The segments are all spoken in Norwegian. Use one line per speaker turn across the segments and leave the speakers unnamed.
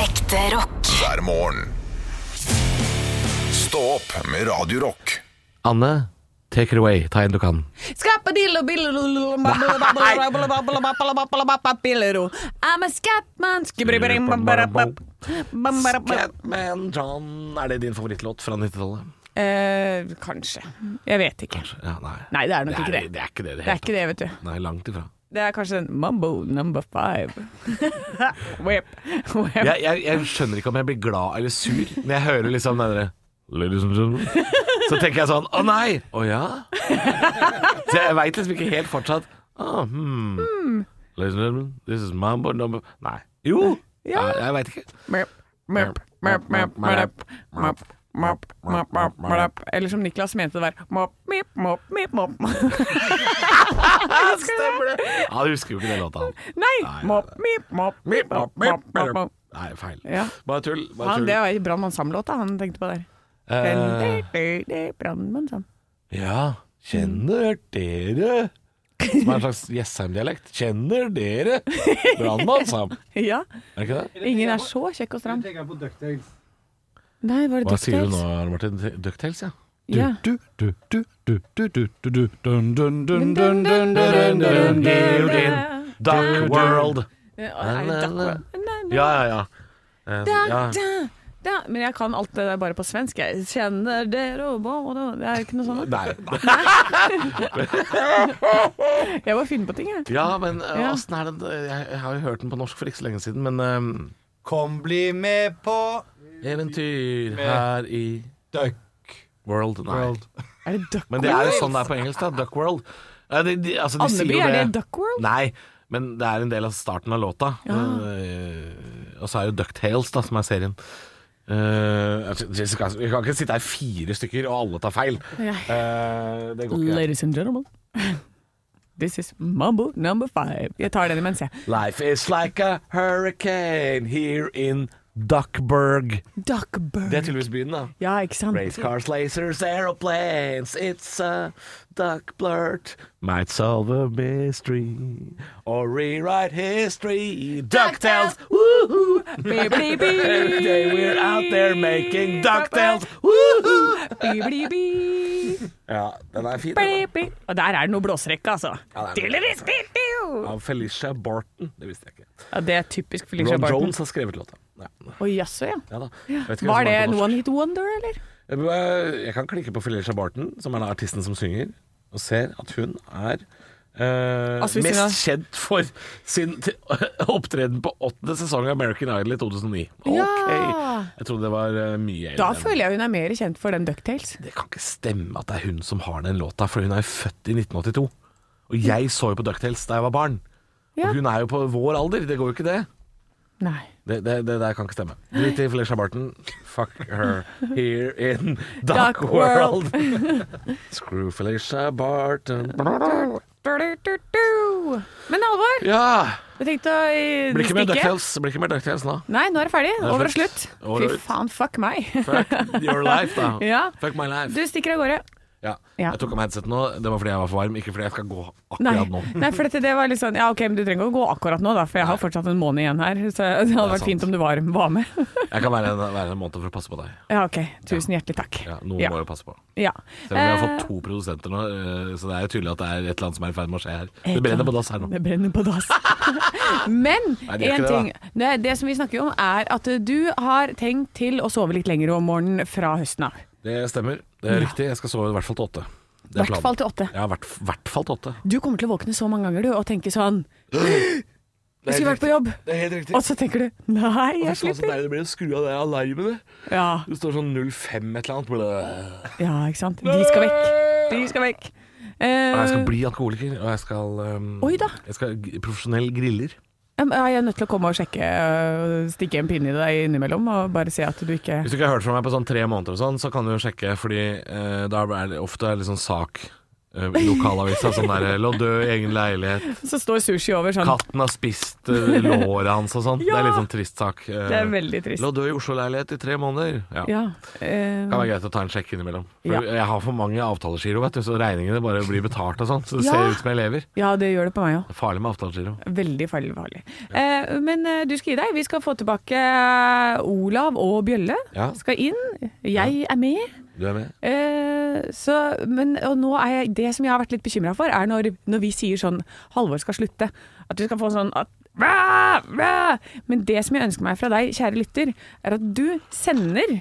Ekte rock.
hver morgen. Stå opp med Radio Rock.
Anne, take it away. Ta en du kan.
I'm a scatman
Catman John. Er det din favorittlåt fra 90-tallet?
eh, Kanskje. Jeg vet ikke.
Ja, nei.
Nei, det er nok ikke det.
Det er ikke det i det
Det er
hele
ikke det, vet du.
tatt. Nei, langt ifra.
Det er kanskje den Mumbo number five. Whip. Whip.
Jeg, jeg, jeg skjønner ikke om jeg blir glad eller sur når jeg hører liksom den derre Ladies and gentlemen. Så tenker jeg sånn Å nei! Å ja? Så jeg veit liksom ikke helt fortsatt. Ah, hmm. Ladies and gentlemen, this is mambo number Nei. Jo! Ja.
Ja.
jeg veit ikke.
Merp, merp, merp, merp, merp, merp, merp, merp, merp, merp. Eller som Niklas mente det var mop, mip, mop, mip, mop.
Stemmer det! Ja, du husker jo ikke den låta, han.
Nei!
Nei,
Mop, mip, mop, mip, mop, mop, mop, mop.
Nei, feil.
Ja.
Bare tull. Bare
Han,
tull.
det var Brannmann Sam-låta han tenkte på der.
Eh,
Den- Brannmann Sam.
ja. Kjenner dere Som er en slags Jessheim-dialekt. Kjenner dere Brannmann Sam?
Ja.
Er det ikke det?
Ingen er så kjekk og stram.
tenker jeg på DuckTales.
Nei, var det
Hva sier du nå,
DuckTales?
Arne Martin? Ducktails, ja.
Ja.
Duck World.
Er det Duck World? Nei, nei.
Ja, ja, ja. Eh, ja.
Da, da. Men jeg kan alt det der bare på svensk. Jeg kjenner dere og både Det er ikke noe sånt.
Nei.
Jeg bare finner på ting, jeg.
Ja, men eh,
Ja.
åssen er den Jeg jeg har jo hørt den på norsk for ikke så lenge siden, men
Kom, bli med på
eh, Eventyr her i
Duck
World. Nei.
World.
Er det Duck
Men det er jo sånn det er på engelsk, da. Duck World. Eh, de, de, altså, de sier
Anneby,
jo
er det Duck World?
Nei, men det er en del av starten av låta. Eh, og så er jo Ducktales, da, som er serien. Eh, altså, Jessica, vi kan ikke sitte her fire stykker og alle tar feil. Eh, det går ikke.
Ladies and gentlemen. This is mambo number five. Jeg tar den imens, jeg.
Life is like a hurricane here in Duckburg.
Duckbird.
Det er tydeligvis byen, da.
Ja, ikke sant?
Race cars, lasers, aeroplanes, it's a duck blurt. Might solve a mystery or rewrite history. DuckTales, woohoo!
Beep, beep, beep.
Every day we're out there making DuckTales, woohoo!
Beep, beep, beep.
Ja, den er fin. den da.
Beep, beep. Og der er det noe blåserekke, altså.
Ja, det er noe
Diddelidiss, diddelio.
Av Felicia Barton, det visste jeg ikke.
Ja, det er typisk Felicia
Ron
Barton.
Jones har skrevet låta. Ja,
Å, jaså, ja.
ja da. Jeg vet ikke hvem som
Var det
er på
en
norsk.
one hit wonder, eller?
Jeg jeg kan klikke på Felicia Barton, som er da artisten som synger, og ser at hun er eh,
Altså, hvis hun
mest kjent for sin t- opptreden på åttende sesong av American Idol i 2009. Ok!
Ja.
Jeg trodde det var eh, mye
Da
eldre.
føler jeg hun er mer kjent for den Ducktails.
Det kan ikke stemme at det er hun som har den låta, for hun er jo født i 1982. Og jeg så jo på Ducktales da jeg var barn.
Ja.
Og hun er jo på vår alder, det går jo ikke det.
Nei.
Det, det, det der kan ikke stemme. Drit i Felicia Barton. Fuck her here in dark,
Dark
world.
world.
Screw Felicia Barton.
Du-du-du-du. Men Alvor,
Ja!
jeg tenkte å eh,
Blir ikke mer
stikke.
Ducktales Blir ikke mer DuckTales nå.
Nei, nå er det ferdig.
er
Over og
slutt.
slutt.
Over og
Fy
ut.
faen, fuck meg.
Fuck your life, da.
Ja.
Fuck my life.
Du stikker av gårde.
Ja.
Ja.
Jeg tok av meg headsetet nå. Det var fordi jeg var for varm, ikke fordi jeg skal gå
Nei.
akkurat nå.
Nei, for dette, det var litt sånn Ja, ok, men du trenger ikke å gå akkurat nå, da, for jeg har fortsatt en måned igjen her. Så det hadde vært
sant.
fint om du var, var med.
Jeg kan være en, være en måned for å passe på deg.
Ja, ok. Tusen hjertelig takk.
Ja, noen
Ja.
må jo passe på.
Ja.
Selv om vi har
Eh,
fått to produsenter nå, eh, så det er jo tydelig at det er et eller annet som er i ferd med å skje her.
Et
Det brenner
eller
på dass her nå.
Eh, Det brenner på dass. Men
Nei, det gjør
en
ikke
ting
det,
nei, Det som vi snakker om, er at du har tenkt til å sove litt lenger om morgenen fra høsten av.
Det stemmer. Det er riktig. Jeg skal sove i hvert fall til åtte. Det er
I hvert
planen.
fall til åtte.
Ja, i hvert, hvert fall til åtte.
Du kommer til å våkne så mange ganger du, og tenke sånn Jeg skulle vært på jobb.
Det er helt riktig.
Og så tenker du Nei, jeg slipper.
det blir å skru av det alarmet.
Ja,
Det står sånn 05 et eller annet.
ja, ikke sant. De skal vekk. De skal vekk. Eh,
Jeg skal bli alkoholiker, og jeg skal um,
Oi da.
Jeg skal g- profesjonell griller.
jeg er nødt til å komme og sjekke, øh, stikke en pinne i deg innimellom og bare se at du ikke
Hvis du ikke har hørt fra meg på sånn tre måneder og sånn, så kan du jo sjekke, fordi eh, da er det ofte er det litt sånn sak eh, eh, i lokalavisa. Sånn der eh, 'lå død i egen leilighet',
Så står sushi over sånn.
'katten har spist eh, låret hans' og sånn. Det er litt sånn trist sak. Eh,
Det er veldig trist.
Lå død i Oslo-leilighet i tre måneder. Ja.
Ja. eh,
Kan være greit å ta en sjekk innimellom. For
Ja.
Jeg har for mange avtalegiro, vet du, så regningene bare blir betalt og sånn. Så det
Ja.
ser ut som jeg lever.
ja, det gjør det på meg òg.
Det er farlig med avtalegiro.
Veldig farlig. farlig. Eh, men eh, du skal gi deg. Vi skal få tilbake eh, Olav og Bjølle.
Ja.
Skal inn. Jeg er med.
Du er med?
Eh, så, men, og nå er jeg, det som jeg har vært litt bekymra for, er når, når vi sier sånn Halvor skal slutte. At du skal få en sånn at, Væ! Væ! Men det som jeg ønsker meg fra deg, kjære lytter, er at du sender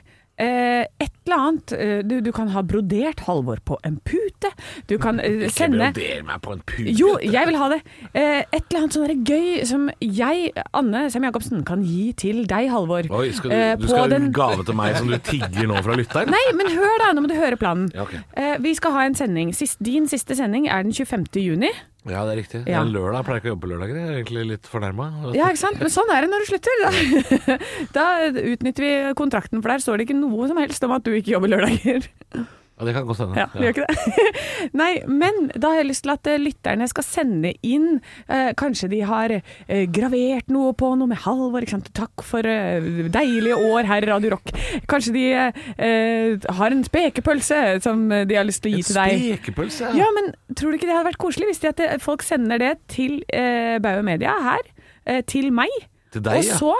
eh, et eller annet. Eh, Du, du kan ha brodert Halvor på en pute. Du kan eh,
Ikke
sende
broder meg på en pute.
jo, jeg vil ha det. Eh, et eller annet sånn der gøy som jeg, Anne Sem Jacobsen, kan gi til deg, Halvor.
Oi, skal du,
Eh,
du
på
skal ha en
den-
gave til meg som du tigger nå fra lytteren?
Nei, men hør da, nå må du høre planen.
Ja, ok.
eh, vi skal ha en sending. Sist, din siste sending er den 25. juni.
Ja, det er riktig. Det
Ja.
er en lørdag. Jeg pleier ikke å jobbe på lørdager. Jeg er egentlig litt fornærma.
Ja, ikke sant? Men sånn er det når du slutter. Da, da utnytter vi kontrakten, for der står det ikke noe som helst om at du ikke jobber lørdager.
Ja, det kan godt hende.
Ja, det gjør ikke det. Nei, men da har jeg lyst til at eh, lytterne skal sende inn eh, Kanskje de har eh, gravert noe på noe med Halvor. Ikke sant? Takk for eh, deilige år her i Radio Rock. Kanskje de eh, har en spekepølse som eh, de har lyst til å gi
En
til deg.
spekepølse?
Ja, men tror du ikke det hadde vært koselig hvis de at eh, folk sender det til eh, Bauer Media her, eh, til meg,
Til deg,
og
ja.
så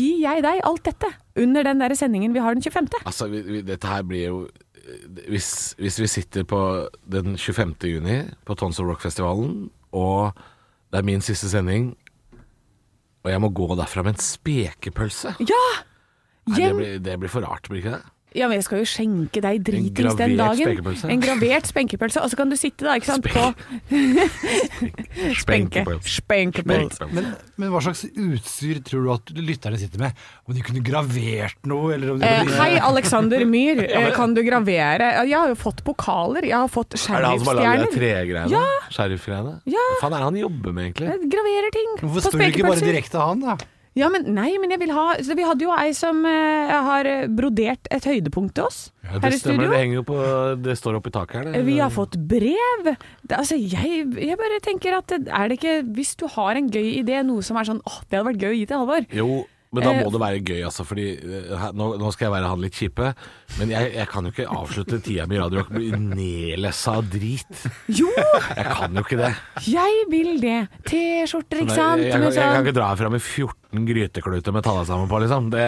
gir jeg deg alt dette under den der sendingen vi har den 25.
Altså, vi, vi, dette her blir jo eh, hvis, hvis vi sitter på den 25. juni på Tonsor Rock-festivalen, og det er min siste sending, og jeg må gå derfra med en spekepølse Nei,
Ja!
det,
Hjem!
blir, det blir for rart, blir ikke det?
Ja, men jeg skal jo skjenke deg dritings
gravert
den dagen.
spenkepølse.
En gravert spenkepølse. Og så kan du sitte da, ikke sant, på spenke. Spenkepølse.
Men, men hva slags utstyr tror du at lytterne sitter med? Om de kunne gravert noe, eller om de
Eh, hei, Alexander Myhr. Eh, kan du gravere? Ja, Jeg har jo fått pokaler. Jeg har fått
Er det han som har lagd de
sheriffstjerner.
tregreiene?
Ja.
Sheriffgreiene?
Ja.
Hva faen er det han jobber med, egentlig?
Jeg Graverer ting på
Hvorfor spør du ikke bare
spekepølser.
direkte han, da?
Ja, men nei, men jeg vil ha så Vi hadde jo ei som eh, har eh, brodert et høydepunkt til oss
Ja,
her i
stemmer,
studio.
det henger jo på Det står oppi taket her. det.
Vi har fått brev. Det, altså, jeg, jeg bare tenker at det- er det ikke Hvis du har en gøy idé, noe som er sånn åh, det hadde vært gøy å gi til Halvor.
Jo, men da
Eh,
må det være gøy, altså. Fordi eh, her, nå, nå skal jeg være han litt kjipe, men jeg, jeg kan jo ikke avslutte tida mi i Radio Rock med nedlessa av drit.
Jo,
Jeg kan jo ikke det.
jeg vil det! T-skjorter,
Jeg,
ikke sant?
jeg, jeg,
Med
kan
sånn-
ikke dra herfra med 14 grytekluter med talla sammen på, liksom. Det,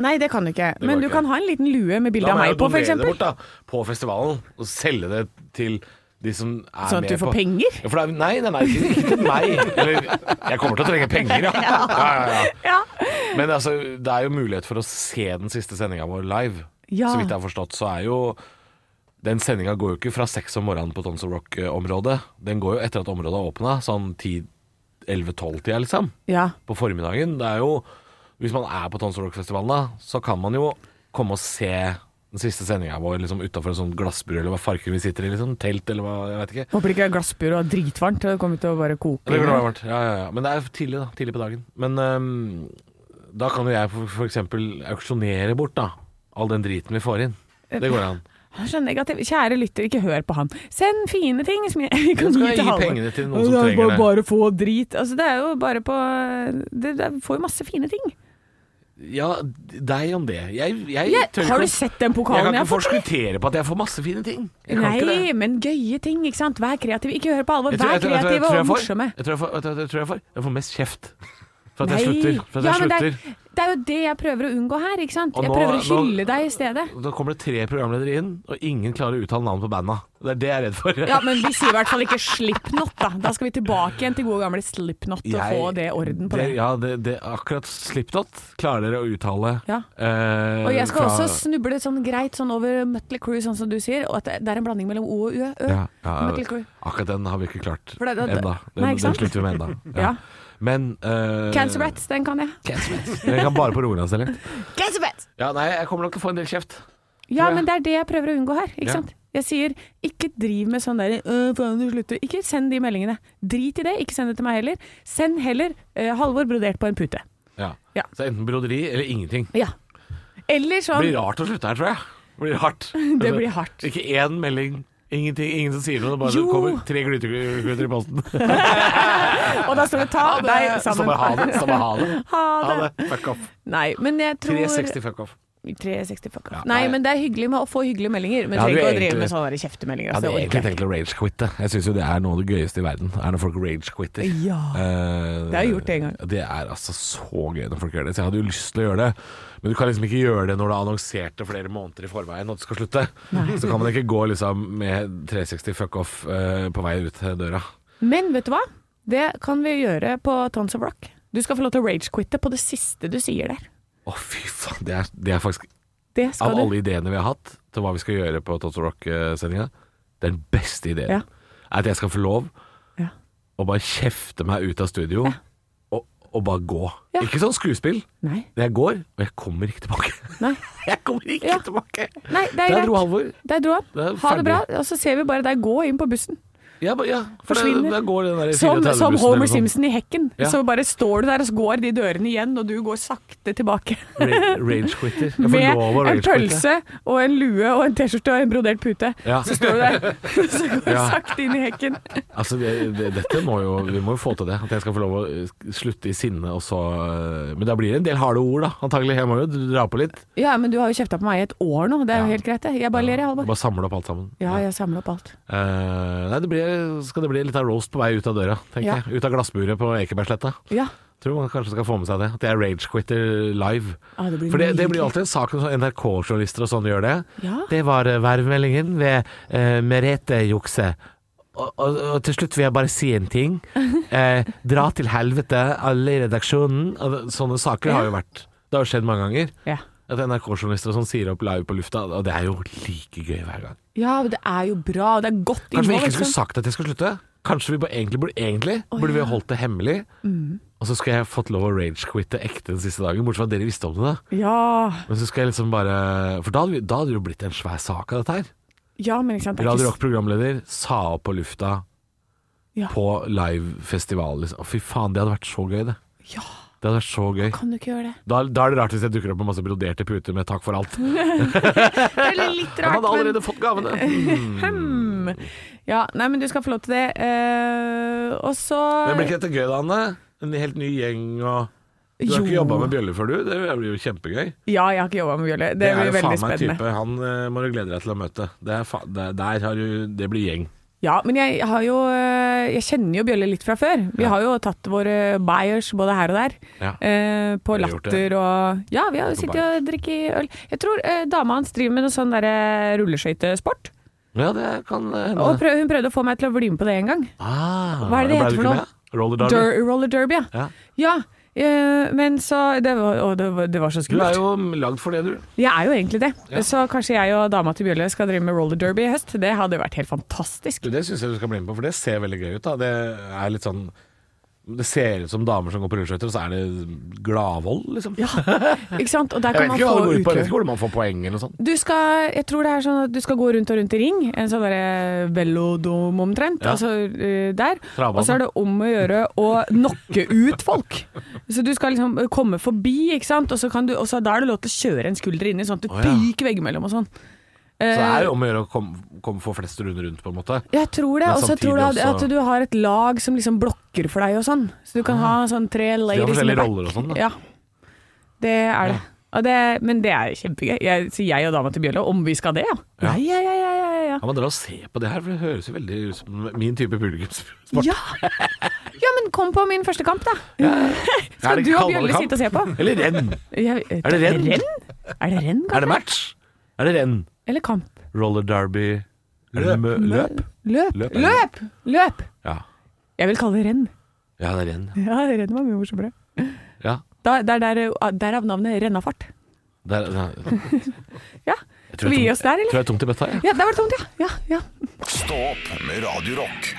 Nei, det kan du ikke.
går
Men du
ikke.
kan ha en liten lue med bilde
da
av
må
meg
jeg jo
på,
donere det
f.eks.
bort, da. På festivalen. Og selge det til de som er
Sånn at
med
du får
på-
penger?
Ja, for det er, nei, nei, nei, ikke ikke til meg. Eller, jeg kommer til å trenge penger, ja. ja, ja, ja.
Ja.
Men altså, det er jo mulighet for å se den siste sendinga vår live.
Ja.
Så vidt jeg har forstått, så er jo Den sendinga går jo ikke fra seks om morgenen på Tons of Rock-området. Den går jo etter at området har åpna, sånn 10-11-12-tida, liksom.
ja.
På formiddagen. Det er jo Hvis man er på Tons of Rock-festivalen, da, så kan man jo komme og se den siste sendinga vår liksom utafor en sånn glassbur, eller hva farken vi sitter i, liksom. Telt, eller hva, jeg vet ikke.
Håper det ikke er glassbur og dritvarmt. og Det kommer til å bare koke.
Eller
inn.
det var varmt. Ja, ja, ja. Men det er tidlig, da. Tidlig på dagen. Men øhm, da kan jo jeg for, for eksempel auksjonere bort da all den driten vi får inn. Det går an.
Han er så negativ. Kjære lytter, ikke hør på han. Send fine ting som jeg vi kan
skal
gi
jeg
til
gi
Halvor.
pengene til noen som
Det er
trenger
bare,
det.
Bare få drit. Altså, det er jo bare på Det, det får jo masse fine ting.
Ja, deg om det. Jeg, jeg
Jeg,
tør ikke
har
å-
du sett den
Jeg kan
pokalen jeg
ikke
har fått?
forskuttere på at jeg får masse fine ting. Jeg kan ikke
Nei,
det.
men gøye ting, ikke sant. Vær kreativ. Ikke hør på Halvor.
Jeg tror-
Vær
jeg tror- jeg tror- jeg
kreativ
tror
og
jeg får-
morsomme.
Jeg tror jeg får, jeg tror jeg tror jeg får, jeg får mest kjeft for at jeg
Nei.
slutter. For at jeg
Ja, men det er-
slutter.
Det er jo det jeg prøver å unngå her, ikke sant.
Og
Jeg
nå-
prøver å
nå-
skylde deg i stedet.
Da kommer det tre programledere inn, og ingen klarer å uttale navnet på banda. Det er det jeg er redd for.
Ja, men vi sier i hvert fall ikke Slipknot, da. Da skal vi tilbake igjen til gode gamle Slipknot og
Jeg-
få det orden på det.
Ja, det, det, akkurat Slipknot klarer dere å uttale.
Ja.
eh,
Og jeg skal
fra-
også snuble sånn greit sånn over Mutley Crew, sånn som du sier. Og at det- det er en blanding mellom O og Ø. Ø.
ja, ja,
Mutley Crew.
Akkurat den har vi ikke klart
For det- det-
ennå. Den,
Nei, ikke
den
sant?
sliter vi med ennå.
Ja.
Men eh,
Cancer Rats, den kan jeg.
Cancer Rats. Den kan bare på Rogalandsdialekt.
Cancer Rats!
Ja, nei, jeg kommer nok til å få en del kjeft.
Ja,
Ja.
men det er det jeg prøver å unngå her. Ikke
Ja.
sant? Jeg sier ikke driv med sånn der «Øh, faen, du slutter. Ikke send de meldingene. Drit i det, ikke send det til meg heller. Send heller eh, Halvor brodert på en pute.
Ja.
Ja.
Så enten broderi eller ingenting.
Ja. Eller
Det
sånn
blir rart å slutte her, tror jeg. Det blir hardt.
Det blir hardt.
Ikke én melding Ingenting, ingen som sier noe, det bare
Jo.
kommer tre glutegluter i posten.
Og da står det 'ta deg
Så
sammen'.
bare ha det. Så bare ha det.
Ha
Ha
det.
det. Fuck off.
Nei, men jeg tror
360 fuck off.
360 fuck off.
Ja,
nei,
nei.
men det er hyggelig med å få hyggelige meldinger. Men
Ja, du
trenger ikke
er
å drive
egentlig-
med sånne der kjeftemeldinger.
Jeg
altså,
hadde
det
egentlig
orker jeg
tenkt å rage-quitte. Jeg syns jo det er noe av det gøyeste i verden, er når folk rage-quitter.
ikke. Ja.
Eh,
Det har jeg gjort en gang.
Det er altså så gøy når folk gjør det. Så jeg hadde jo lyst til å gjøre det, men du kan liksom ikke gjøre det når du har annonsert det flere måneder i forveien at du skal slutte. Så kan man ikke gå liksom med 360 fuck off eh, på vei ut til døra.
Men vet du hva? Det kan vi gjøre på Tons of Rock. Du skal få lov til å rage-quitte på det siste du sier der.
Å, fy faen. Det er, det er faktisk
Det
Av
skal du.
alle ideene vi har hatt til hva vi skal gjøre på Toto Rock-sendinga, den beste ideen
Ja.
er at jeg skal få lov
Ja.
å bare kjefte meg ut av studio og, og bare gå.
Ja.
Ikke sånn skuespill.
Nei.
Jeg går, og jeg kommer ikke tilbake.
Nei.
Jeg kommer ikke
Ja.
tilbake.
Nei, det er
Der dro
greit.
Halvor.
Der dro han.
Det er
Ha
ferdig.
det bra, og så ser vi bare deg gå inn på bussen.
Ja, ba- ja, for
Forsvinner.
Der, der går den der
Som,
34-bussen
som
eller
Homer
sånn.
Simpson i Hekken.
Ja.
Så bare står du der, og så går de dørene igjen, og du går sakte tilbake.
Ra- Rage-quitter. Jeg får
Med
lov å
en
rage-quitte.
pølse og en lue og en T-skjorte og en brodert pute.
Ja.
Så står du der, så går du
Ja.
sakte inn i hekken.
Altså, det, det, dette må jo Vi må jo få til det. At jeg skal få lov å eh, slutte i sinne, og så eh, Men da blir det en del harde ord, da. Antagelig. Jeg må jo dra på litt.
Ja, men du har jo kjefta på meg i et år nå, det er jo
Ja.
helt greit det. Jeg bare ler, jeg, Halvor.
Bare samle opp alt sammen.
Ja, jeg samler opp alt.
Eh, nei, det blir, skal det bli litt av roast på vei ut av døra, tenker
Ja.
jeg. Ut av glassburet på Ekebergsletta.
Ja.
Tror man kanskje skal få med seg det. At jeg er ragequitter live.
Ja, Ah, det blir
For det, det
nydelig.
blir alltid en sak når sånn NRK-journalister og sånn gjør det.
Ja.
Det var eh, værmeldingen ved eh, Merete Jukse. Og, og, og til slutt vil jeg bare si en ting. Eh, dra til helvete, alle i redaksjonen. Og Sånne saker har jo vært Det har jo skjedd mange ganger.
Ja.
At NRK-journalister og sånn sier opp live på lufta, og det er jo like gøy hver gang.
Ja, men det er jo bra, og det er godt
Kanskje vi
innhold.
ikke skulle
liksom.
sagt at jeg skal slutte? Kanskje vi bare egentlig burde, egentlig, burde vi holdt det hemmelig? Og så skulle jeg fått lov å rage-quitte ekte den siste dagen, bortsett fra at dere visste om det. da
Ja,
Men så skal jeg liksom bare For da hadde, vi, da hadde det jo blitt en svær sak av dette her.
ja, men ikke sant. det er
Radio
ikke-
Rock-programleder sa opp på lufta
Ja.
på livefestival. Liksom. Å, Fy faen, det hadde vært så gøy, det.
Ja.
Det hadde vært så gøy.
Kan du ikke gjøre det?
Da, da er det rart hvis jeg dukker opp med masse broderte puter med 'takk for alt'. Han
Det er litt
hadde
rart, men
allerede fått gavene. Mm.
Hmm. Ja, nei, men du skal få lov til det. eh, og så
Men blir ikke dette gøy da, Anne? En helt ny gjeng og Du har
Jo.
ikke jobba med bjølle før, du? Det blir jo kjempegøy.
Ja, jeg har ikke jobba med Bjølle. Det,
Det, er
blir
jo faen
veldig
meg en
spennende.
type. Han eh, må du glede deg til å møte. Det, er fa det, der har du, det blir gjeng.
Ja, men jeg har jo eh, Jeg kjenner jo Bjølle litt fra før. Vi
Ja.
har jo tatt våre buyers både her og der.
Ja.
eh, på
Har dere gjort
latter og Ja, vi har jo
På
sittet og drukket øl. Jeg tror eh, dama hans driver med noe sånn derre rulleskøytesport.
Ja, det kan eh, hende.
Og prøv, hun prøvde å få meg til å bli med på det en gang.
ah,
Hva er det det
ble
heter
du
for
ikke
noe?
med? Roller derby.
Der, roller derby, ja.
Ja.
Ja, eh, men så det var, å, det, var, det var så
Du er
skummelt.
jo lagd for det, du.
Jeg er jo egentlig det.
Ja.
Så kanskje jeg og dama til Bjølle skal drive med roller derby i høst. Det hadde jo vært helt fantastisk.
du det syns jeg du skal bli med på, for det ser veldig gøy ut. da Det er litt sånn Det ser ut som damer som går på rulleskøyter, og så er det gladvold, liksom.
Ikke sant? Og der
Jeg
kan
vet
man
ikke hva det
få
går ut på, liksom. jeg vet
utløp.
ikke hvordan man får poeng eller noe sånt.
Du skal, jeg tror det er sånn at du skal gå rundt og rundt i ring, en sånn derre velodom omtrent,
Ja.
altså eh, der.
Travbane.
Og så er det om å gjøre å knocke ut folk. Så du skal liksom komme forbi, ikke sant, og så, kan du, og så da er det lov til å kjøre en skulder inni, sånn at du
Å, ja.
piker veggimellom og sånn.
Så det
eh,
er jo om å gjøre å komme kom, få flest runder rundt, på en måte.
Jeg tror det,
Men
og så
samtidig
tror jeg at,
også-
at du har et lag som liksom blokker for deg og sånn. Så du kan ha sånn tre
De har
ladies in the
forskjellige
back.
roller og sånn. da.
Ja, det er det.
Ja.
Og det men det er kjempegøy. Jeg, så jeg og dama til Bjølle, om vi skal det, ja.
Ja.
Ja, ja, ja, ja, ja, ja.
Ja, men dere se på det her, for det høres jo veldig ut som min type publikumssport.
Ja. ja, men kom på min første kamp, da.
Er
Skal
det
du og
kaldere
Bjølle
kamp?
sitte og se på?
Eller renn.
Jeg,
Er det renn?
Er det renn,
Er det
kanskje?
match? Er det renn?
Eller kamp?
Roller derby
Løp.
Mø- Eh, Løp? Løp,
Løp. Løp.
er det.
Løp!
Ja.
Jeg vil kalle det renn.
ja, det er renn.
Ja, renn var mye morsommere.
Ja.
Da- Det er der, ah, derav navnet rennafart.
Det er, det er.
Ja.
Jeg
Skal vi gi oss der, eller?
tror jeg er tomt i bøtta, jeg.
Ja, der var det tomt, ja. ja, ja.
Stå opp med Radio Rock.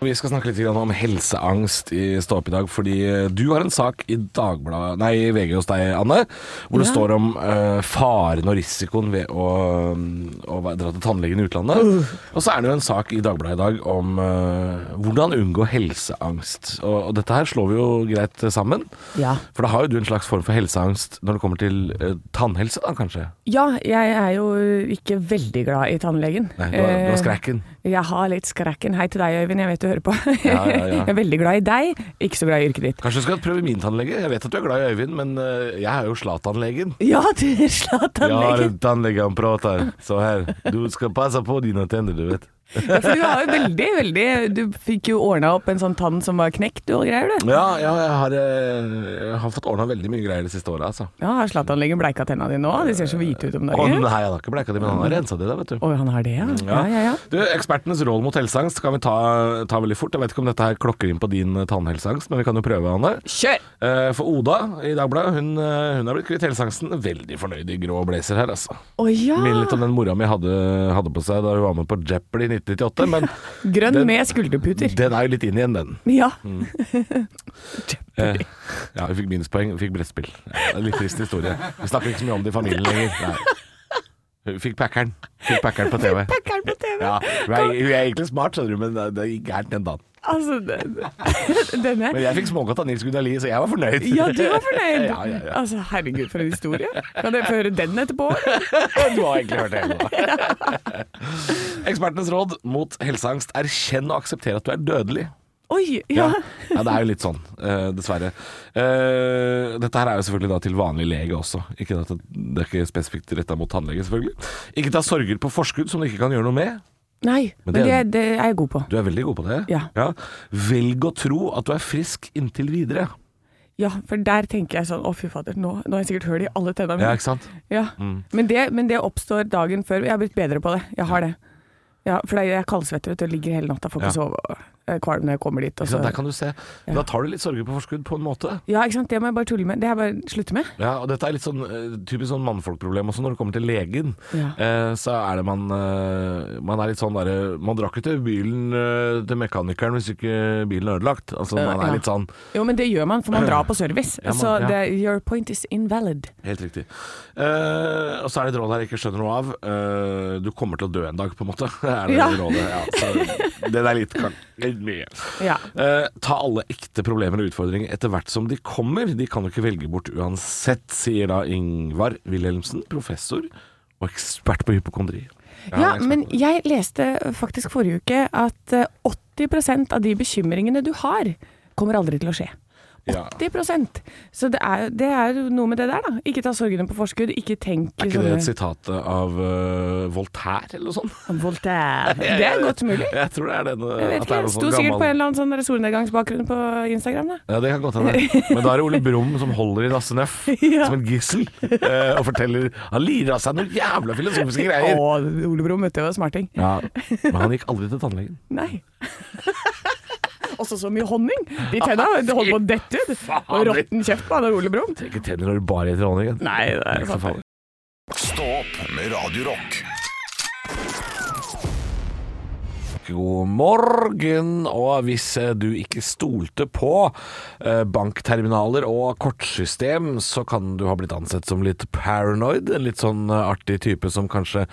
Vi skal snakke litt grann om helseangst i Stå opp i dag, fordi eh, du har en sak i Dagbladet, nei, i VG hos deg, Anne, hvor det
Ja.
står om eh, faren og risikoen ved å, mm, å være- dra til tannlegen i utlandet.
Uh.
Og så er det jo en sak i Dagbladet i dag om eh, hvordan unngå helseangst. Og, og dette her slår vi jo greit eh, sammen,
Ja.
for da har jo du en slags form for helseangst når det kommer til eh, tannhelse, da kanskje?
jeg er jo ikke veldig glad i tannlegen.
Nei, du har, du har
Eh,
skrekken.
Jeg har litt skrekken. Hei til deg, Øyvind. Jeg vet du hører på.
Ja, ja, ja.
Jeg er veldig glad i deg, ikke så glad i yrket ditt.
Kanskje du skal prøve min tannlege? Jeg vet at du er glad i Øyvind, men eh, jeg er jo Zlatan-legen.
Ja, du slapp tannlegen.
tannlege han prater så her. Du skal passe på dine tenner, du vet.
Ja, for du har jo veldig, veldig Du fikk jo ordna opp en sånn tann som var knekt og greier, du.
Ja, ja jeg, har, eh, jeg har fått ordna veldig mye greier det siste året, altså.
Ja, har Zlatan-legen bleika tenna dine òg? De ser så hvite ut om
Å nei, Mm,
dagen.
han har ikke bleika det, men han har rensa det, da, vet du.
Å, han har det, ja. Ja, ja, ja.
Du, Ekspertenes råd mot helseangst kan vi ta, ta veldig fort. Jeg vet ikke om dette her klokker inn på din eh, tannhelseangst, men vi kan jo prøve, Anne.
Kjør!
Eh, For Oda i Dagbladet, hun, eh, hun har blitt kvitt helseangsten. Veldig fornøyd i grå blazer her, altså.
Å ja!
Minner litt om den mora mi hadde, hadde på seg da hun var med på Jeopardy i 1998, men
Grønn
Den-
med skulderputer.
den er jo litt inn igjen, den. Mm.
Ja.
Eh, ja, vi fikk minuspoeng, vi fikk brettspill. Ja, det er litt trist historie. Vi snakker ikke så mye om det i familien lenger. Nei. Hun Fikk Packeren. Fikk Packeren på TV.
Pakkeren på TV.
Ja, hun er, hun er egentlig smart, skjønner du, men det, det gikk gærent den dagen.
Altså, den- denne
Men jeg fikk smågodt av Nils Gunnar Lie, så jeg var fornøyd.
Ja, du var fornøyd.
Ja, ja, ja.
Altså, herregud, for en historie. Kan dere få høre den etterpå?
Du har egentlig hørt det hele nå. Ekspertenes råd mot helseangst erkjenn og aksepter at du er dødelig.
Oi!
Ja.
Ja.
ja, det er jo litt sånn, eh, dessverre. Eh, dette her er jo selvfølgelig da til vanlig lege også. Ikke at det, det er ikke spesifikt retta mot tannlege, selvfølgelig. Ikke ta sorger på forskudd som du ikke kan gjøre noe med.
Nei,
Men
men
det-
det, det er jeg god på.
Du er veldig god på det.
Ja.
Velg å tro at du er frisk inntil videre.
Ja, for der tenker jeg sånn å fy fader, nå, nå har jeg sikkert hull i alle tenna
Ja,
mine.
ikke sant? Mm.
Ja. Men, det, men det oppstår dagen før. Jeg har blitt bedre på det. Jeg har det. Ja, for det er- jeg er kaldsvetter vet du, og ligger hele natta, får ikke
Ja.
sove og er kvalm når jeg kommer dit. Og
Ikke
så.
sant? Der kan du se. Da tar du litt sorger på forskudd på en måte.
Ja, ikke sant. Det må jeg bare tulle med. Det har jeg bare slutte med.
Ja, og dette er litt sånn eh, typisk sånn mannfolkproblem også når det kommer til legen.
Ja.
Eh, så er det man eh, Man er litt sånn derre Man drar ikke til bilen eh, til mekanikeren hvis ikke bilen er ødelagt. Altså man
Eh, Ja.
er litt sånn
Jo, men det gjør man, for man drar på service.
Ja, man-
så
ja.
det, your point is invalid.
Helt riktig. Eh, og så er det et råd her jeg ikke skjønner noe av. Eh, du kommer til å dø en dag, på en måte. er det
Ja.
rådet. Ja, så det er litt, kan- litt mye.
Ja.
Eh, ta alle ekte problemer og utfordringer etter hvert som de kommer. De kan jo ikke velge bort uansett, sier da Ingvar Wilhelmsen, professor og ekspert på hypokondri.
Ja, men jeg leste eh, faktisk forrige uke at eh, 80 av de bekymringene du har, kommer aldri til å skje.
Ja.
80 Så det er, det er jo noe med det der, da. Ikke ta sorgene på forskudd, ikke tenk
Er ikke sånn, det et
sånne-
sitat av eh, Voltaire eller noe sånt?
Voltaire. Det er godt mulig.
Jeg tror det er den.
Jeg vet ikke, Sto sikkert på en eller annen sånn der solnedgangsbakgrunn på Instagram, da.
Ja, det kan godt hende. Men da er det Ole Brumm som holder i Lasse Nøff
Ja.
som et gissel eh, og forteller Han lirer av seg noen jævla filosofiske greier.
Å, Ole Brumm, vet du, var smarting.
Ja, Men han gikk aldri til tannlegen.
Nei. Også så mye honning! De tenna det holder på å dette ut. Og råtten kjeft på han der Ole Brumm.
Ikke tenner når du bare gjeter honningen.
Nei, det er sant. det.
Stå opp med Radio Rock.
God morgen, og hvis eh, du ikke stolte på eh, bankterminaler og kortsystem, så kan du ha blitt ansett som litt paranoid, en litt sånn eh, artig type som kanskje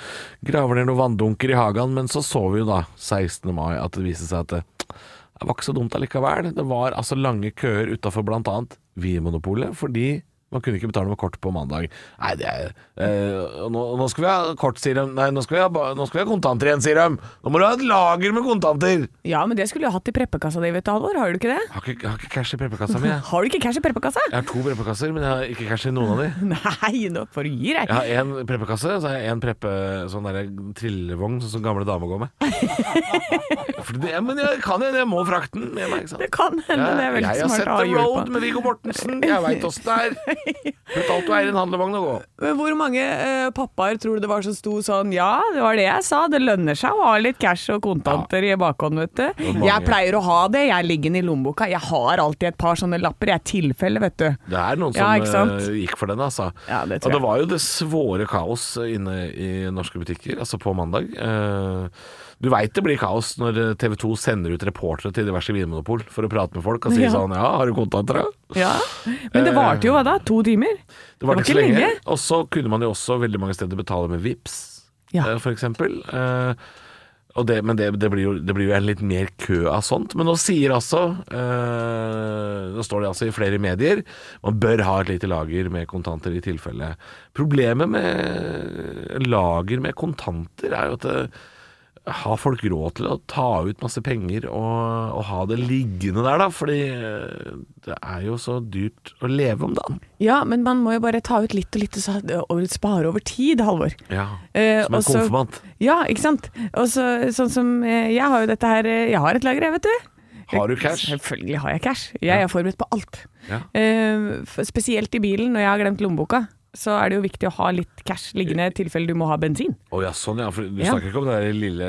graver ned noen vanndunker i hagen, men så så vi jo da 16. mai at det viste seg at eh, det, det var ikke så dumt allikevel. Det var altså lange køer utafor bl.a. Vinmonopolet, fordi man kunne ikke betale med kort på mandag. Nei, det er eh, og nå, og nå skal vi ha kort, sier de. Nei, nå skal, vi ha, ba- nå skal vi ha kontanter igjen, sier de. Nå må du ha et lager med kontanter!
Ja, men det skulle du hatt i preppekassa di, vet du, Halvor. Har du ikke det?
Jeg har ikke, jeg har ikke cash i preppekassa mi. Jeg.
Har du ikke cash i preppekassa?
jeg har to preppekasser, men jeg har ikke cash i noen av de.
Nei, nå får du gi deg.
Jeg har én preppekasse, så har jeg én preppe, sånn der trillevogn sånn som gamle damer går med. For det, men jeg kan jo det, jeg må frakte den med meg. Ikke sant?
Det kan hende det er veldig
jeg har
smart
sett
å ha
The
hjul
Road
på.
med Viggo Mortensen, jeg veit åssen det er. Slutt alt du eier i en handlevogn og gå.
Men hvor mange eh, pappaer tror du det var som sto sånn Ja, det var det jeg sa, det lønner seg å ha litt cash og kontanter i bakhånd, vet du.
mange-
Jeg pleier å ha det, jeg ligger den i lommeboka. Jeg har alltid et par sånne lapper, jeg er tilfelle, vet du.
Det er noen som
Ja, ikke sant?
eh, gikk for den, altså.
Ja, det tror
og det
jeg.
var jo det svåre kaos inne i norske butikker, altså på mandag. Eh, Du veit det blir kaos når eh, TV 2 sender ut reportere til diverse vinmonopol for å prate med folk og si
Ja.
sånn Ja, har du kontakter, da?
Ja. Men det varte jo hva da? To timer?
Det var ikke
Det var
så
ikke
lenge.
lenge.
Og så kunne man jo også veldig mange steder betale med VIPs
Ja.
eh, for eksempel. Eh, og det, men det, det, blir jo, det blir jo en litt mer kø av sånt. Men nå sier altså eh, Nå står det altså i flere medier man bør ha et lite lager med kontanter i tilfelle. Problemet med lager med kontanter er jo at det, har folk råd til å ta ut masse penger og, og ha det liggende der, da? Fordi eh, det er jo så dyrt å leve om dagen.
Ja, men man må jo bare ta ut litt og litt og så- og spare over tid, Halvor.
Ja.
Eh,
Som
og
en
så-
konfirmant.
Ja, ikke sant. Og så sånn som eh, Jeg har jo dette her eh, Jeg har et lager, jeg, vet du.
Har du cash?
Selvfølgelig har jeg cash. Jeg er forberedt på alt.
Ja.
Eh, f- spesielt i bilen, når jeg har glemt lommeboka. Så er det jo viktig å ha litt cash liggende i tilfelle du må ha bensin.
Å ja, sånn ja. For du
Ja.
snakker ikke om det der lille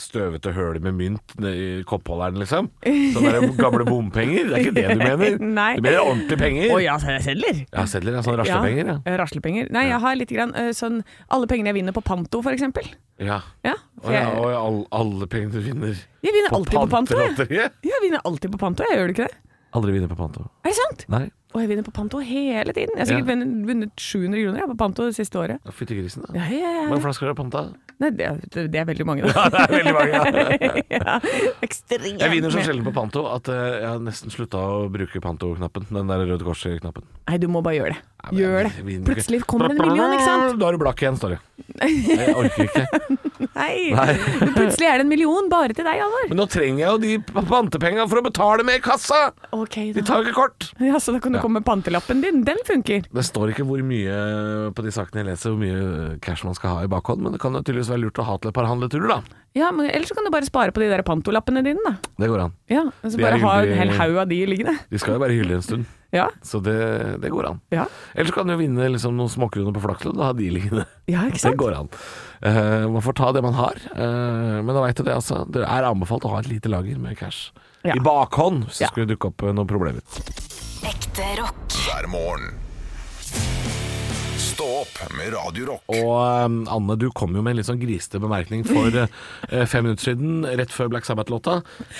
støvete hølet med mynt ned i koppholderen, liksom? Sånne der gamle bompenger? Det er ikke det du mener?
Nei.
Du mener ordentlige penger?
Å ja, så er det sedler!
Ja, sedler, ja. Sånne raslepenger, sånn ja.
eh, Raslepenger. Nei, jeg har litt grann eh, sånn Alle pengene jeg vinner på panto, for eksempel.
ja.
Ja,
Å
for
ja,
jeg,
og all, alle pengene du vinner
jeg vinner alltid på panto. Jeg.
pantelotteriet?
jeg vinner alltid på panto, jeg gjør du ikke det?
Aldri vinner på panto.
Er det sant?
Nei.
Og jeg vinner på panto hele tiden. Jeg har sikkert
Ja.
vunnet- vunnet 700 kroner jeg, på panto det siste året.
Fytti grisen, da.
Ja, ja,
Hvor
ja.
mange flasker har du panta?
Nei, det, er- det er veldig mange, da.
Det er veldig mange. ja.
ja. Ekstremt.
Jeg vinner så
mye.
sjelden på panto at eh, jeg har nesten slutta å bruke panto-knappen. Den der Røde Kors-knappen.
Nei, du må bare gjøre det.
Nei, men
Gjør
jeg
det.
vinner ikke.
Plutselig kommer det en million, ikke sant?
Da er du blakk igjen, står det. Jeg orker ikke.
Nei.
Nei.
Men plutselig er det en million bare til deg, Halvor.
Men nå trenger jeg jo de p- pantepengene for å betale med i kassa!
Ok,
De
da.
tar jo ikke kort!
Ja, så da kan du
Ja.
komme med pantelappen din. Den funker.
Det står ikke hvor mye på de sakene jeg leser, hvor mye cash man skal ha i bakhånd, men det kan jo tydeligvis være lurt å ha til et par handleturer, da.
Ja, men Ellers så kan du bare spare på de der pantolappene dine, da.
Det går an.
Ja, og så
Det er
bare ha en
hyggelig.
hel haug av de liggende.
De skal jo være hyllige en stund,
Ja,
så det, det går an.
ja.
Ellers kan du vinne liksom noen småkroner på Flakslodd og ha de liggende.
ja ikke
Det
sant?
går an. Eh, man får ta det man har, eh, men da veit du det, altså. Det er anbefalt å ha et lite lager med cash
Ja.
i bakhånd hvis det
Ja.
skulle dukke opp eh, noen problemer.
Ekte rock.
hver morgen. Stå opp med Radio Rock.
Og eh, Anne, du kom jo med en litt sånn grisete bemerkning for eh, fem minutter siden, rett før Black Sabbath-låta,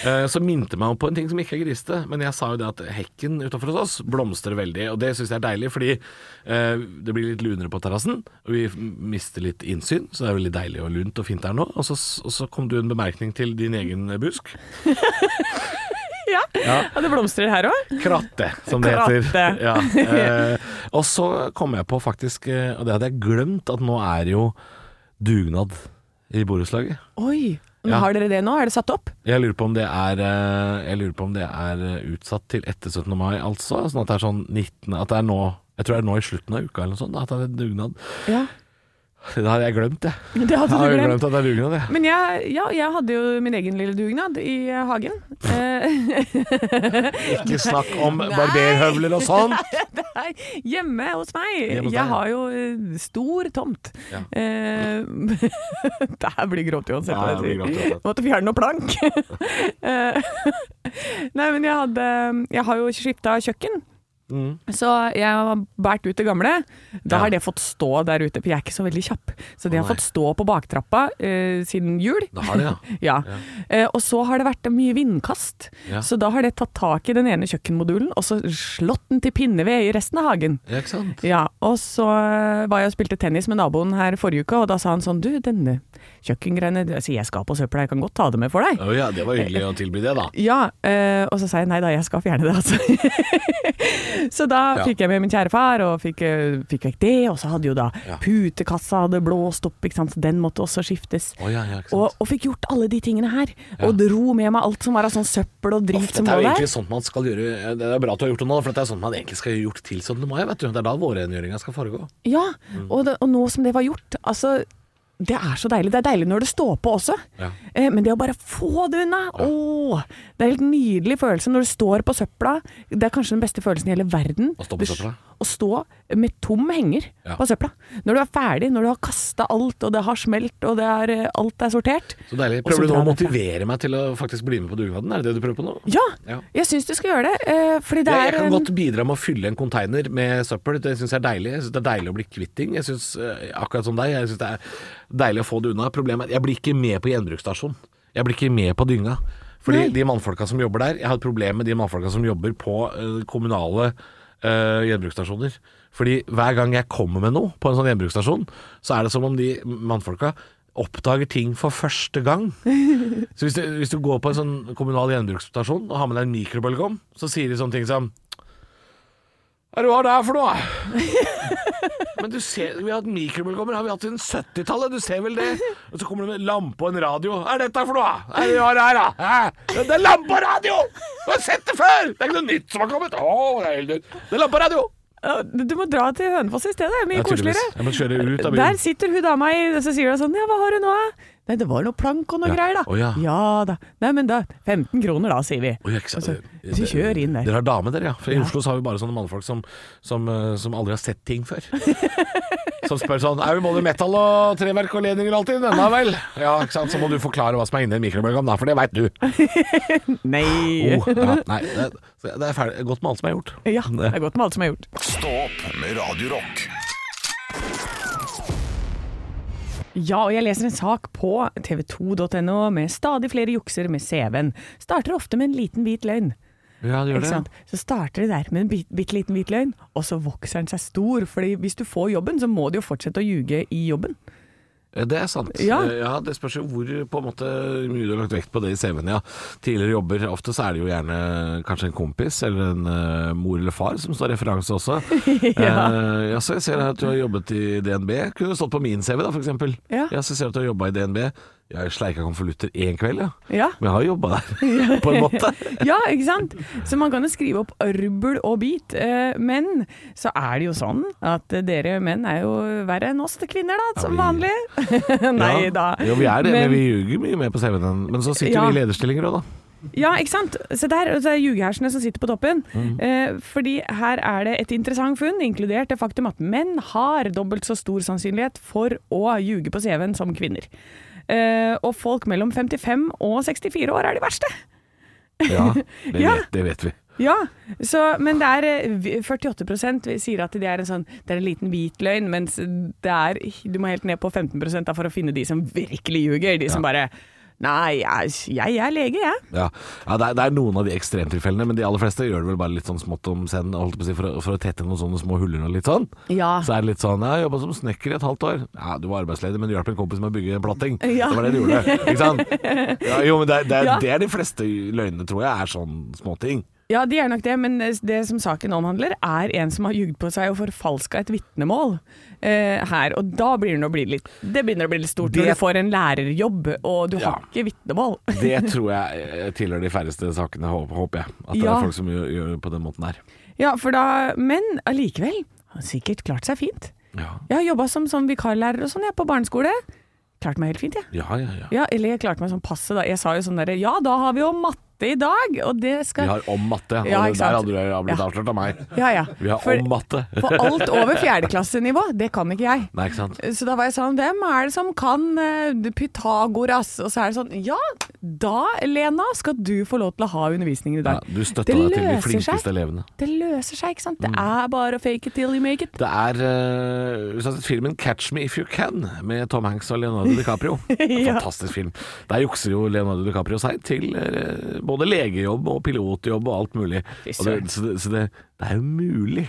eh, som minte meg på en ting som ikke er grisete. Men jeg sa jo det at hekken utafor hos oss blomstrer veldig, og det syns jeg er deilig, fordi eh, det blir litt lunere på terrassen, og vi mister litt innsyn, så det er veldig deilig og lunt og fint der nå. Og så, og så kom du en bemerkning til din egen busk.
Ja.
Ja.
Og det blomstrer her òg.
Kratte, som det
Kratte.
heter. Ja. Eh, og så kom jeg på faktisk, eh, og det hadde jeg glemt, at nå er det jo dugnad i borettslaget.
Oi. Men
Ja.
Har dere det nå? Er det satt opp?
Jeg lurer på om det er eh, Jeg lurer på om det er eh, utsatt til etter 17. mai, altså. Sånn at det er sånn 19. At det er nå Jeg tror det er nå i slutten av uka eller noe sånt. At det er dugnad.
Ja.
Det hadde jeg glemt, jeg.
Det
Jeg
hadde
har jo
du glemt.
glemt at det er dugnad, jeg.
Men jeg, ja, jeg hadde jo min egen lille dugnad i eh, hagen. Eh,
Ikke snakk om barberhøvler og sånn.
Nei, hjemme hos
Hjemme hos
meg.
deg, ja.
jeg har jo eh, stor tomt.
Ja.
Eh, det her blir grått uansett.
Ja,
hva
det blir
jeg
grått
sier.
uansett.
Måtte fjerne noe plank. Eh, Nei, men jeg hadde Jeg har jo skifta kjøkken.
Mm.
Så jeg har båret ut det gamle. Da
Ja.
har det fått stå der ute, for jeg er ikke så veldig kjapp. Så det
Å,
har
nei.
fått stå på baktrappa eh, siden jul.
Da har det, ja.
Ja. Eh, og så har det vært mye vindkast,
Ja.
så da har det tatt tak i den ene kjøkkenmodulen og så slått den til pinneved i resten av hagen.
Ja, ikke sant.
Ja, og så eh, var jeg og spilte tennis med naboen her forrige uke, og da sa han sånn Du, denne kjøkkengreiene Jeg sier jeg skal på søpla, jeg kan godt ta det med for deg.
Å ja, det var hyggelig å tilby det, da.
Ja, eh, og så sa jeg nei da, jeg skal fjerne det, altså. så da
Ja.
fikk jeg med min kjære far, og fikk, eh, fikk vekk det. Og så hadde jo da
Ja.
putekassa hadde blåst opp, ikke sant, så den måtte også skiftes.
Å ja, ja, ikke sant.
Og, og fikk gjort alle de tingene her. Og dro med meg alt som var av sånn søppel og drit
Uff,
som
dette er
var
jo
der.
egentlig sånt man skal gjøre eh, Det er bra at du har gjort det nå, for dette er sånt man egentlig skal gjort til 17. mai. Vet du. Det er da vårrengjøringa skal foregå.
Ja,
Mm.
og, det, og nå som det var gjort, altså det er så deilig. Det er deilig når det står på også.
Ja.
Eh, Men det å bare få det unna Åh, Det er en helt nydelig følelse når du står på søpla. Det er kanskje den beste følelsen i hele verden.
Å stå på
Du s-
søpla?
å stå med tom henger
Ja.
på søpla. Når du er ferdig, når du har kasta alt, og det har smelt, og det er, eh, alt er sortert.
Så deilig.
Og så
Prøver du nå å
drar dere.
motivere meg til å faktisk bli med på dugnaden? Er det det du prøver på nå?
Ja,
Ja.
jeg syns du skal gjøre det. eh, Fordi
Jeg,
det
jeg
er
kan
en-
godt bidra med å fylle en konteiner med søppel. Det syns jeg er deilig. Jeg synes det er deilig å bli kvitt ting. Jeg synes, eh, Akkurat som deg. Jeg syns det er deilig å få det unna. Problemet er at jeg blir ikke med på gjenbruksstasjon. Jeg blir ikke med på dynga. Fordi de mannfolka som jobber der Jeg har et problem med de mannfolka som jobber på eh, kommunale eh, gjenbruksstasjoner. Fordi hver gang jeg kommer med noe på en sånn gjenbruksstasjon, så er det som om de mannfolka oppdager ting for første gang. Så hvis du, hvis du går på en sånn kommunal gjenbruksstasjon og har med deg en mikrobølgeovn, så sier de sånne ting som Hva er det du har der for noe? Men du ser, vi har hatt mikrobølgeovner har vi hatt siden 70-tallet, du ser vel det? Og så kommer det med en lampe og en radio. Hva er dette for noe? Hva er det du har her, da? Hæ? Det er lampe og radio! Du har sett det før! Det er ikke noe nytt som har kommet. Å, det er helt nytt. Det er lampe og radio!
Ja, Du må dra til Hønefoss i stedet, det er mye koseligere.
Jeg må kjøre ut av
Der
bilen.
sitter hun dama i og så sier hun sånn Ja, hva har du nå? da?» Nei, det var noe plank og noe
Ja.
greier, da.
Å, ja.
da. Nei, men da 15 kroner, da, sier vi.
Oi, ikke sant. Eh,
Altså, så kjør inn der.
Dere har dame, dere, ja. For I Oslo så har vi bare sånne mannfolk som, som, eh, som aldri har sett ting før. Som spør sånn Er det både metal og treverk og ledninger og alt i denne, vel? Ja, ikke sant. Så må du forklare hva som er inni en mikrobølgeovn, da, for det veit du.
Nei.
Oh, ja, nei, det, så det er ferdig, godt med alt som er gjort.
Ja, det er godt med alt som er gjort.
Stå opp med Radio Rock.
Ja, og jeg leser en sak på tv2.no med stadig flere jukser med CV-en. Starter ofte med en liten hvit løgn.
Ja, det
Ikke sant? Så starter det der med en bit- bitte liten hvit løgn, og så vokser den seg stor. Fordi hvis du får jobben, så må du jo fortsette å ljuge i jobben.
Det er sant.
Ja.
Eh, ja Det spørs jo hvor på en måte mye du har lagt vekt på det i CV-en. Ja. Tidligere jobber, ofte så er det jo gjerne kanskje en kompis eller en eh, mor eller far som står referanse også. Eh, ja, så jeg ser her at du har jobbet i DNB. Kunne stått på min CV da, for eksempel.
Ja.
så ser jeg at du har jobba i DNB. Jeg sleika konvolutter én kveld, ja.
Ja.
Men jeg har jobba der, på en måte.
Ja, ikke sant? Så man kan jo skrive opp rubbel og bit. eh, Men så er det jo sånn at eh, dere menn er jo verre enn oss til kvinner, da, som
Ja, vi-
vanlig. Nei
Ja.
da.
Jo, vi er det, men,
Men-
vi ljuger mye mer på CV-en. enn- Men så sitter
Ja.
vi i lederstillinger òg, da.
Ja, ikke sant? Se der, og så er det ljugehersene som sitter på toppen.
Mm.
Eh, fordi her er det et interessant funn, inkludert det faktum at menn har dobbelt så stor sannsynlighet for å ljuge på CV-en som kvinner. Eh, og folk mellom 55 og 64 år er de verste.
Ja, det,
Ja.
Vet, det vet vi.
Ja, så, men det er eh, vi- 48 sier at det er en sånn Det er en liten hvit løgn, mens det er Du må helt ned på 15 da for å finne de som virkelig ljuger. De som bare Nei, jeg, jeg er lege, jeg.
Ja, ja det, er, det er noen av de ekstremtilfellene, men de aller fleste gjør det vel bare litt sånn smått om scenen, holdt jeg på å si, for, å- for å tette noen sånne små huller og litt sånn.
Ja.
Så er det litt sånn Ja, jobba som snekker i et halvt år. Ja, du var arbeidsledig, men du hjalp en kompis med å bygge en platting.
Ja.
Det var det du gjorde. Ikke sant? Ja, jo, men det, er- det, er-
Ja.
det er de fleste løgnene, tror jeg, er sånn småting.
Ja, de er nok det, men det som saken omhandler, er en som har ljugd på seg og forfalska et vitnemål eh, her. Og da blir det, nå bli litt, det begynner å bli litt stort
Det-
når du får en lærerjobb og du
Ja.
har ikke vitnemål.
Det tror jeg eh, tilhører de færreste sakene, håper, håper jeg. At det
Ja.
er folk som gjør, gjør det på den måten der.
Ja, for da, men allikevel har han sikkert klart seg fint.
Ja,
Jeg har jobba som, sånn vikarlærer og sånn jeg, på barneskole. Klart meg helt fint, jeg.
ja, ja. ja.
Ja, eller jeg klarte meg sånn passe, da. Jeg sa jo sånn derre Ja, da har vi jo matte i dag, og det
Vi
skal
har om matte, og
Ja, ikke
det
sant.
der hadde du jo blitt
Ja.
avslørt av meg.
Ja, ja.
Vi har
For-
om matte.
For alt over fjerdeklassenivå, det kan ikke jeg.
Nei, ikke sant.
Så da var jeg sånn, hvem er det som kan eh, Pythagoras? Og så er det sånn, ja, da Lena skal du få lov til å ha undervisningen i
Ja,
dag.
du støtta
Det
deg til de
løser seg.
flinkeste Mm. elevene.
Det løser seg, ikke sant? Det er bare å fake it till you make it.
Det er eh, hvis du har sett filmen 'Catch Me If You Can' med Tom Hanks og Leonardo DiCaprio. En
Ja.
Fantastisk film. Der jukser jo Leonardo DiCaprio seg til eh, både legejobb og pilotjobb og alt mulig.
Fy
Og det, så det, så det, det er jo mulig.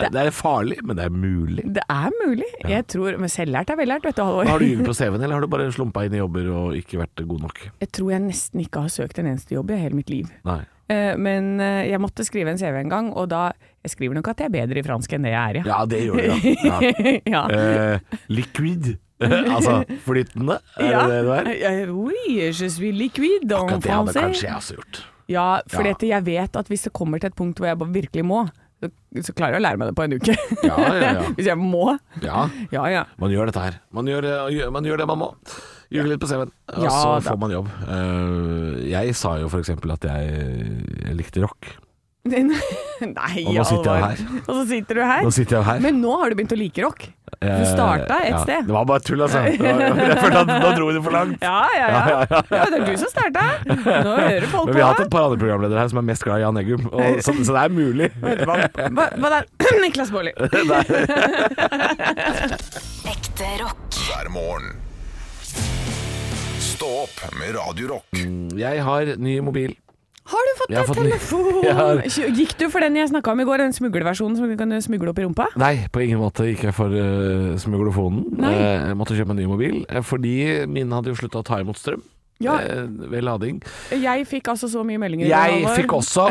Det, det er farlig, men det er mulig.
Det er mulig. Jeg tror, men selvlært er vellært, vet du,
Har
Halvor.
du ljuget på CV-en, eller har du bare slumpa inn i jobber og ikke vært god nok?
Jeg tror jeg nesten ikke har søkt en eneste jobb i hele mitt liv.
Nei.
Eh, Men eh, jeg måtte skrive en CV en gang, og da Jeg skriver nok at jeg er bedre i fransk enn det jeg er, ja.
Ja, det gjør du, ja. ja.
ja.
Eh, liquid. altså flytende, er
Ja.
det det du er?
Eh, Oui, je suis liquide en
Akkurat det hadde
français.
kanskje jeg også gjort.
Ja, fordi
Ja.
at jeg vet at hvis det kommer til et punkt hvor jeg bare virkelig må, så, så klarer jeg å lære meg det på en uke.
Ja, ja, ja.
hvis jeg må.
ja.
Ja, ja.
Man gjør dette her. Man gjør, man gjør det man må. Ljuger litt på CV-en, og
Ja,
så
da.
får man jobb. Eh, Jeg sa jo f.eks. at jeg, jeg likte rock.
Nei,
Og nå sitter jeg
Alvar.
her.
Og så sitter du her.
Nå sitter jeg jo her.
Men nå har du begynt å like rock. Du
Eh,
starta et
ja.
sted.
Det var bare tull, altså. Det var- Jeg følte at nå dro vi det for langt.
Ja, ja, ja. ja, det er du som starta. Nå hører folk
Men
på.
vi har hatt et par andre programledere her som er mest glad i Jan Eggum, og så, så det er mulig.
Hva, hva da? Niklas Baarli.
Ekte rock.
hver morgen. Stå opp med Radio Rock.
Jeg har ny mobil.
Har du fått
Jeg har
deg
fått ny-
telefon?
Jeg har-
Gikk du for den jeg snakka om i går, den smuglerversjonen som du kan eh, smugle opp i rumpa?
Nei, på ingen måte gikk jeg for uh, smuglofonen.
Nei.
Eh, jeg måtte kjøpe en ny mobil, eh, fordi min hadde jo slutta å ta imot strøm.
Ja.
eh, ved lading.
Jeg fikk altså så mye meldinger. i
Jeg
går, Halvor.
fikk også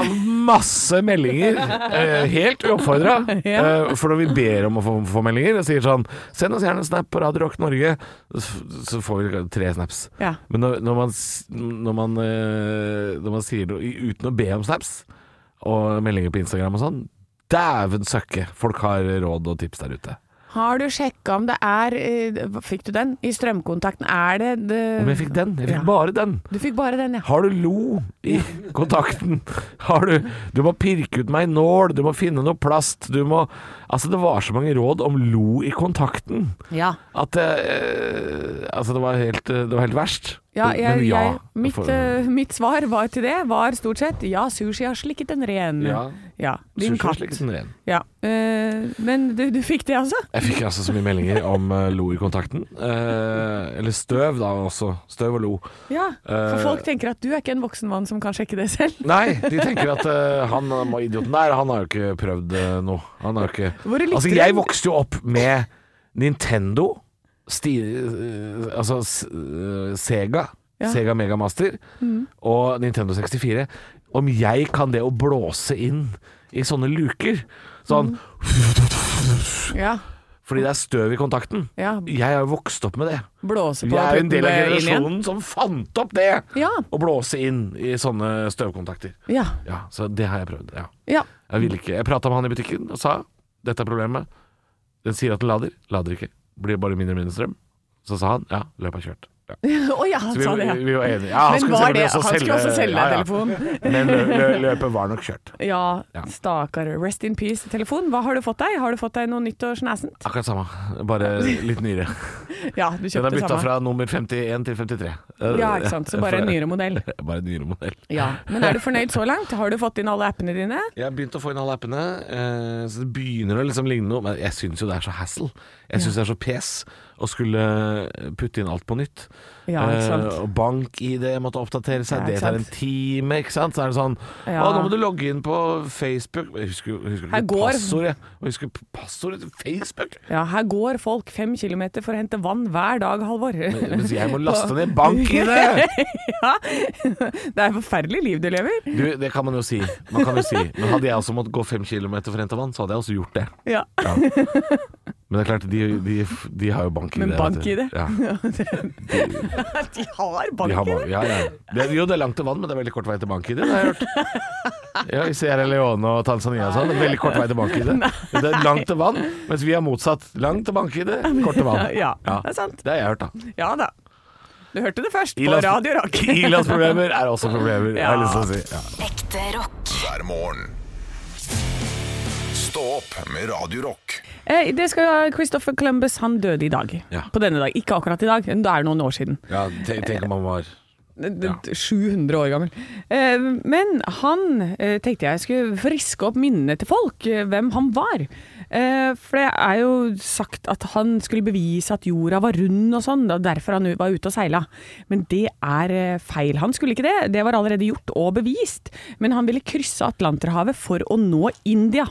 masse meldinger, eh, helt uoppfordra.
Ja.
Eh, for når vi ber om å få, få meldinger og sier sånn Send oss gjerne en snap på Radio Rock Norge, så, så får vi tre snaps.
ja.
Men når, når, man, s- når, man, eh, når man sier noe i- uten å be om snaps og meldinger på Instagram og sånn Dæven søkke! Folk har råd og tips der ute.
Har du sjekka om det er eh, hva- Fikk du den? I strømkontakten, er det, det
Om jeg fikk den? Jeg fikk
Ja.
bare den!
Du fikk bare den, ja.
Har du lo i kontakten? Har du Du må pirke ut meg en nål, du må finne noe plast, du må Altså, det var så mange råd om lo i kontakten
Ja,
at eh, Altså, det var helt, eh, det var helt verst.
ja,
Men-
jeg,
men ja,
jeg, mitt,
for-
eh, mitt svar var til det var stort sett ja, sushi har slikket en ren.
Ja.
Ja, din
Sushi er
katt.
slik som ren.
Ja. eh, men du, du fikk det, altså?
Jeg fikk altså så mye meldinger om eh, lo i kontakten. Eh, eller støv, da også. Støv og lo.
Ja. For
Eh,
folk tenker at du er ikke en voksen mann som kan sjekke det selv.
Nei, de tenker at eh, han må- idioten der, han har jo ikke prøvd eh, noe. Han har jo ikke
Hvor likte
Altså,
du-
jeg vokste jo opp med Nintendo, sti, eh, altså s- eh, Sega,
Ja. Mm.
Sega Mega Master og Nintendo 64. Om jeg kan det å blåse inn i sånne luker,
Mm.
sånn
Ja.
fordi det er støv i kontakten.
ja.
Jeg har jo vokst opp med det.
Blåse på
Jeg er jo en del av
putten, eh, inn igjen.
generasjonen som fant opp det!
Ja.
Å blåse inn i sånne støvkontakter.
Ja.
Ja, Så det har jeg prøvd. ja
ja.
Jeg ville ikke Jeg prata med han i butikken og sa dette er problemet. Den sier at den lader. Lader ikke. Blir bare mindre og mindre strøm. Så sa han ja, løpet er kjørt. Ja.
Å ja, han
Så vi,
sa det, ja.
vi var enige. Ja, han
Men
skulle
var
selvfølgelig
det
også
Han skulle også selge
ja, ja.
telefon.
Men lø- lø- løpet var nok kjørt.
Ja,
Ja.
stakkar. Rest in peace, telefon. Hva har du fått deg? Har du fått deg noe nytt og snæsent?
Akkurat samme, bare litt nyere.
Ja,
Den
du
er
kjøpte
bytta
samme.
fra nummer 51 til 53.
Ja, ikke sant. Så bare en nyere modell.
Bare en nyere modell.
Ja. Men er du fornøyd så langt? Har du fått inn alle appene dine?
Jeg har begynt å få inn alle appene, eh, så det begynner å liksom ligne noe. Men jeg syns jo det er så hassle. Jeg syns det er så pes å skulle putte inn alt på nytt.
Ja, ikke sant.
Eh, og bank-ID måtte oppdatere seg,
Ja,
det
ikke
tar en
sant.
time, ikke sant. Så er det sånn
Ja.
Å, nå må du logge inn på Facebook Jeg husker, jeg husker
Her
ikke
går-
passordet. Jeg husker p- passordet til Facebook!
Ja, her går folk fem kilometer for å hente vann hver dag, Halvor.
Mens jeg må laste ned bank-ID!
Ja. Det er et forferdelig liv du lever.
Du, det kan man jo si. Man kan jo si. Men hadde jeg også måttet gå fem kilometer for å hente vann, så hadde jeg også gjort det.
Ja.
Ja. Men det er klart, de, de, de har jo bank i
Men
det.
bank
vet
i
du.
det?
Ja,
De har
de har
banken.
bank, ja, ja. Det, er- jo, det er langt til vann, men det er veldig kort vei til bank i det. det har jeg hørt. Ja, I Sierra Leone og Tanzania og sånn. det er Veldig kort vei til bank i det. Det er langt til vann, mens vi har motsatt. Langt til bank i det, kort til vann.
Ja, det er sant.
Det har jeg hørt, da.
Ja da. Du hørte det først på
Ilands-
Radio Rock.
Ilandsproblemer er også problemer, har jeg lyst til å si. Ja.
Ekte rock.
hver morgen. Stå opp med Radio Rock.
Eh, Det skal Christopher Columbus, han døde i dag.
Ja.
På denne dag. Ikke akkurat i dag, men det er noen år siden.
Ja, tenk, tenk om han var
D- d- 700 år gammel. Eh, Men han eh, tenkte jeg skulle friske opp minnene til folk, eh, hvem han var. Eh, For det er jo sagt at han skulle bevise at jorda var rund og sånn, og derfor han var ute og seila. Men det er eh, feil. Han skulle ikke det, det var allerede gjort og bevist. Men han ville krysse Atlanterhavet for å nå India.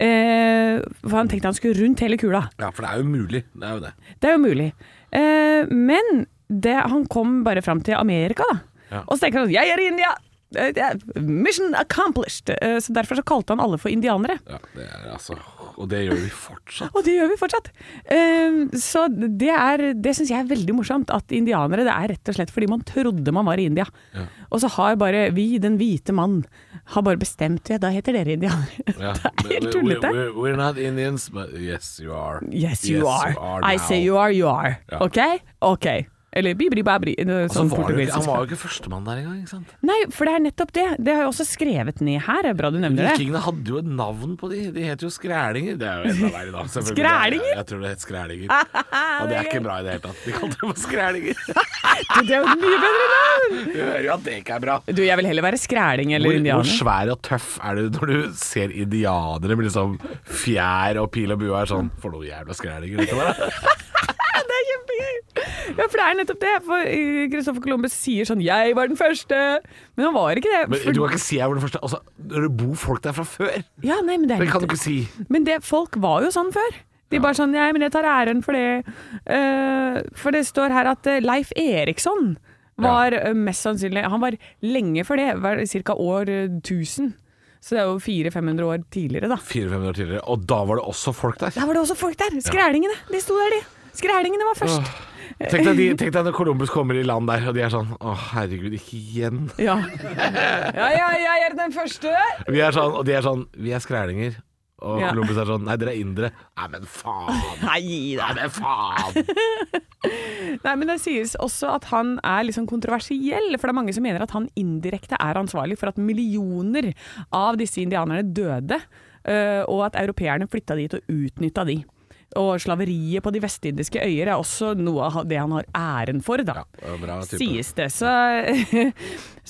Eh, For han tenkte han skulle rundt hele kula.
Ja, for det er jo mulig. Det er jo det.
Det er jo mulig. Eh, men det, han kom bare fram til Amerika, da.
Ja.
Og så tenker han 'jeg er i India'! Eh, det er Mission accomplished! Eh, Så Derfor så kalte han alle for indianere.
Ja, det er altså Og det gjør vi fortsatt.
Og det gjør vi fortsatt. Eh, Så det, er- det syns jeg er veldig morsomt. At indianere det er rett og slett fordi man trodde man var i India. Og så har bare vi, den hvite mann, har bare bestemt ja, da heter dere indianere.
Ja.
Det er helt
We-
tullete.
we- We're, we're not Indians, but yes, you are.
Yes, you are. I
now.
say you are, you are.
Ja.
Ok? Ok. Eller bibri-babri.
Altså,
Sånn
var det jo ikke,
portugisisk.
han var jo ikke førstemann der engang. ikke sant?
Nei, for det er nettopp det. Det har jeg også skrevet ned her. Det er Bra du nevner det.
Vikingene hadde jo et navn på de. De het jo skrælinger. Det er jo enda verre, da. selvfølgelig.
Skrælinger?
Jeg, jeg tror det het skrælinger. Og det er ikke bra i det hele tatt. De kalte det for skrælinger.
Det er jo et mye bedre navn!
Du hører jo at det ikke er bra.
Du, jeg vil heller være skræling eller
Hvor, hvor
indianer.
svær og tøff er du når du ser indianere med liksom fjær og pil og bue og er sånn For noen jævla skrælinger dette var, da.
Det er kjempegøy! Ja, for det er nettopp det. For eh, Christopher Columbus sier sånn 'jeg var den første', men han var ikke det.
Men
for-
du kan ikke si jeg var den første. Altså, når det bor folk der fra før.
ja, nei, men det er
Det kan du
nettopp-
ikke si.
Men det, folk var jo sånn før. De bare sånn Nei, men jeg tar æren for det. Eh, for det står her at eh, Leif Eriksson var eh, mest sannsynlig Han var lenge før det, var ca. år eh, 1000. Så det er jo 400-500 år tidligere, da.
Fire-fem år tidligere. Og da var det også folk der.
Der var det også folk der! Skrælingene! De sto der, de. Skrælingene var først.
Tenk deg, de, tenk deg når Columbus kommer i land der, og de er sånn Å, herregud, ikke igjen.
Ja. ja, ja, jeg er den første!
Vi er sånn, og de er sånn Vi er skrælinger. Og
Ja.
Columbus er sånn Nei, dere er indere. Nei, men faen.
Nei, gi
Nei, men faen.
Nei, men det sies også at han er litt sånn kontroversiell, for det er mange som mener at han indirekte er ansvarlig for at millioner av disse indianerne døde, øh, og at europeerne flytta dit og utnytta de. Og slaveriet på de vestindiske øyer er også noe av det han har æren for, da.
Ja, bra type.
sies det. Så,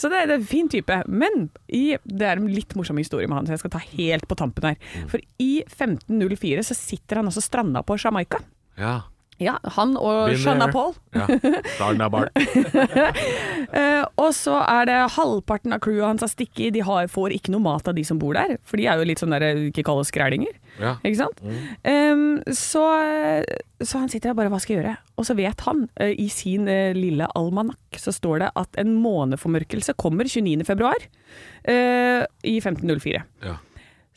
så det, er en fin type. Men i, det er en litt morsom historie med han, så jeg skal ta helt på tampen her.
Mm.
For i 1504 så sitter han også stranda på Jamaica.
Ja.
Ja, han og
Been
Shanna
there.
Paul.
ja. Darn da, barn.
Eh, og så er det halvparten av crewet hans er stikke i. De har, får ikke noe mat av de som bor der, for de er jo litt sånn der eh, ikke kall oss skrælinger.
Ja.
Ikke sant? Em, så, så han sitter der bare hva skal jeg gjøre? Og så vet han, eh, i sin eh, lille almanakk, så står det at en måneformørkelse kommer 29. februar eh, i 1504.
Ja.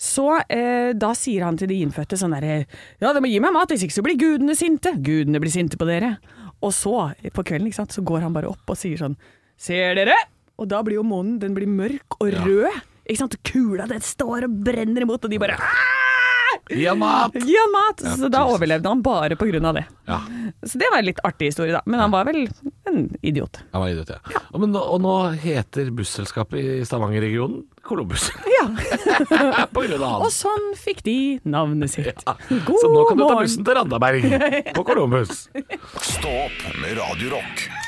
Så eh, da sier han til de innfødte sånn derre Ja, dere må gi meg mat, hvis ikke så blir gudene sinte. Gudene blir sinte på dere. Og så, på kvelden, ikke sant, så går han bare opp og sier sånn Ser dere? Og da blir jo månen den blir mørk og rød. Ikke sant? Og Kula den står og brenner imot, og de bare «Ah!»
Gi ham mat!
Gi han mat! Så da overlevde han bare på grunn av det.
Ja.
Så det var en litt artig historie, da. Men han var vel en idiot.
Han var idiot, ja. Og, men, nå- og nå heter busselskapet i Stavanger-regionen Columbus.
Ja.
på grunn av
Og
han.
sånn fikk de navnet sitt.
Så nå kan du ta
morgen.
bussen til Randaberg på Columbus.
Stå opp med Radio Rock.